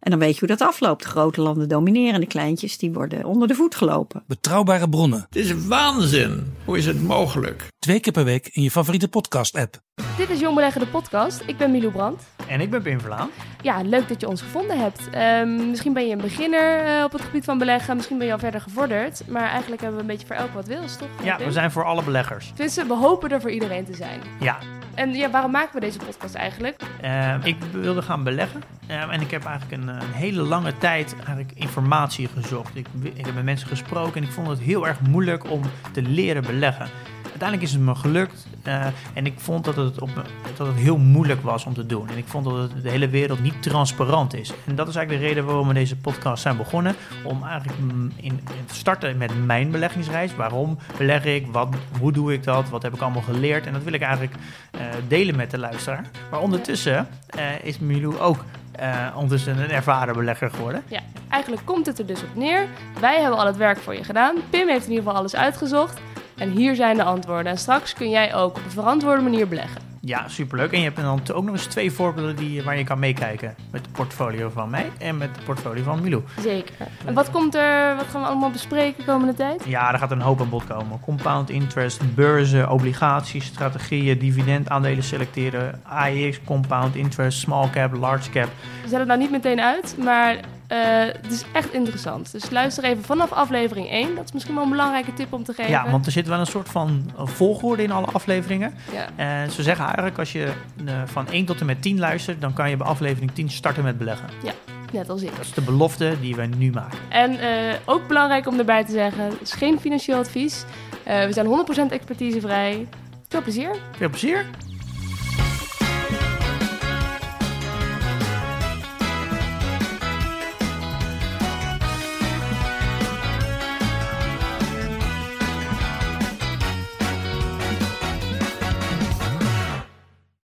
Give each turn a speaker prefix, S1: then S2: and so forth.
S1: En dan weet je hoe dat afloopt. De grote landen domineren, de kleintjes die worden onder de voet gelopen.
S2: Betrouwbare bronnen,
S3: Het is waanzin. Hoe is het mogelijk?
S2: twee keer per week in je favoriete podcast-app.
S4: Dit is Jong Beleggen, de podcast. Ik ben Milou Brandt.
S5: En ik ben Pim Verlaan.
S4: Ja, leuk dat je ons gevonden hebt. Ehm, misschien ben je een beginner eh, op het gebied van beleggen. Misschien ben je al verder gevorderd. Maar eigenlijk hebben we een beetje voor elk wat wils, toch?
S5: Ja,
S4: Pim?
S5: we zijn voor alle beleggers.
S4: Tenminste, we hopen er voor iedereen te zijn.
S5: Ja,
S4: En ja, waarom maken we deze podcast eigenlijk?
S5: eh, ik wilde gaan beleggen. Eh, en ik heb eigenlijk een, eh, een hele lange tijd eigenlijk informatie gezocht. Ik, wi- ik heb met mensen gesproken en ik vond het heel erg moeilijk om te leren beleggen. Uiteindelijk is het me gelukt eh, en ik vond dat het, op, dat het heel moeilijk was om te doen. En ik vond dat het, de hele wereld niet transparant is. En dat is eigenlijk de reden waarom we deze podcast zijn begonnen. Om eigenlijk mm, in, in te starten met mijn beleggingsreis. Waarom beleg ik? Wat, hoe doe ik dat? Wat heb ik allemaal geleerd? En dat wil ik eigenlijk eh, delen met de luisteraar. Maar ondertussen eh, is Milou ook eh, ondertussen een ervaren belegger geworden.
S4: Ja, eigenlijk komt het er dus op neer. Wij hebben al het werk voor je gedaan. Pim heeft in ieder geval alles uitgezocht. En hier zijn de antwoorden. En straks kun jij ook op een verantwoorde manier beleggen.
S5: Ja, superleuk. En je hebt dan ook nog eens twee voorbeelden die, waar je kan meekijken. Met het portfolio van mij en met het portfolio van Milou.
S4: Zeker. En wat komt er, wat gaan we allemaal bespreken de komende tijd?
S5: Ja, er gaat een hoop aan bod komen. Compound interest, beurzen, obligaties, strategieën, dividend, aandelen selecteren, AEX, compound interest, small cap, large cap.
S4: Zet het nou niet meteen uit, maar eh, het is echt interessant. Dus luister even vanaf aflevering 1. Dat is misschien wel een belangrijke tip om te geven.
S5: Ja, want er zit wel een soort van eh, volgorde in alle afleveringen.
S4: Ja.
S5: En ze zeggen eigenlijk als je eh, van 1 tot en met 10 luistert, dan kan je bij aflevering 10 starten met beleggen.
S4: Net als ik.
S5: Dat is de belofte die we nu maken.
S4: En eh, ook belangrijk om erbij te zeggen, het is geen financieel advies. Eh, we zijn 100% expertisevrij. Veel plezier.
S5: Veel plezier!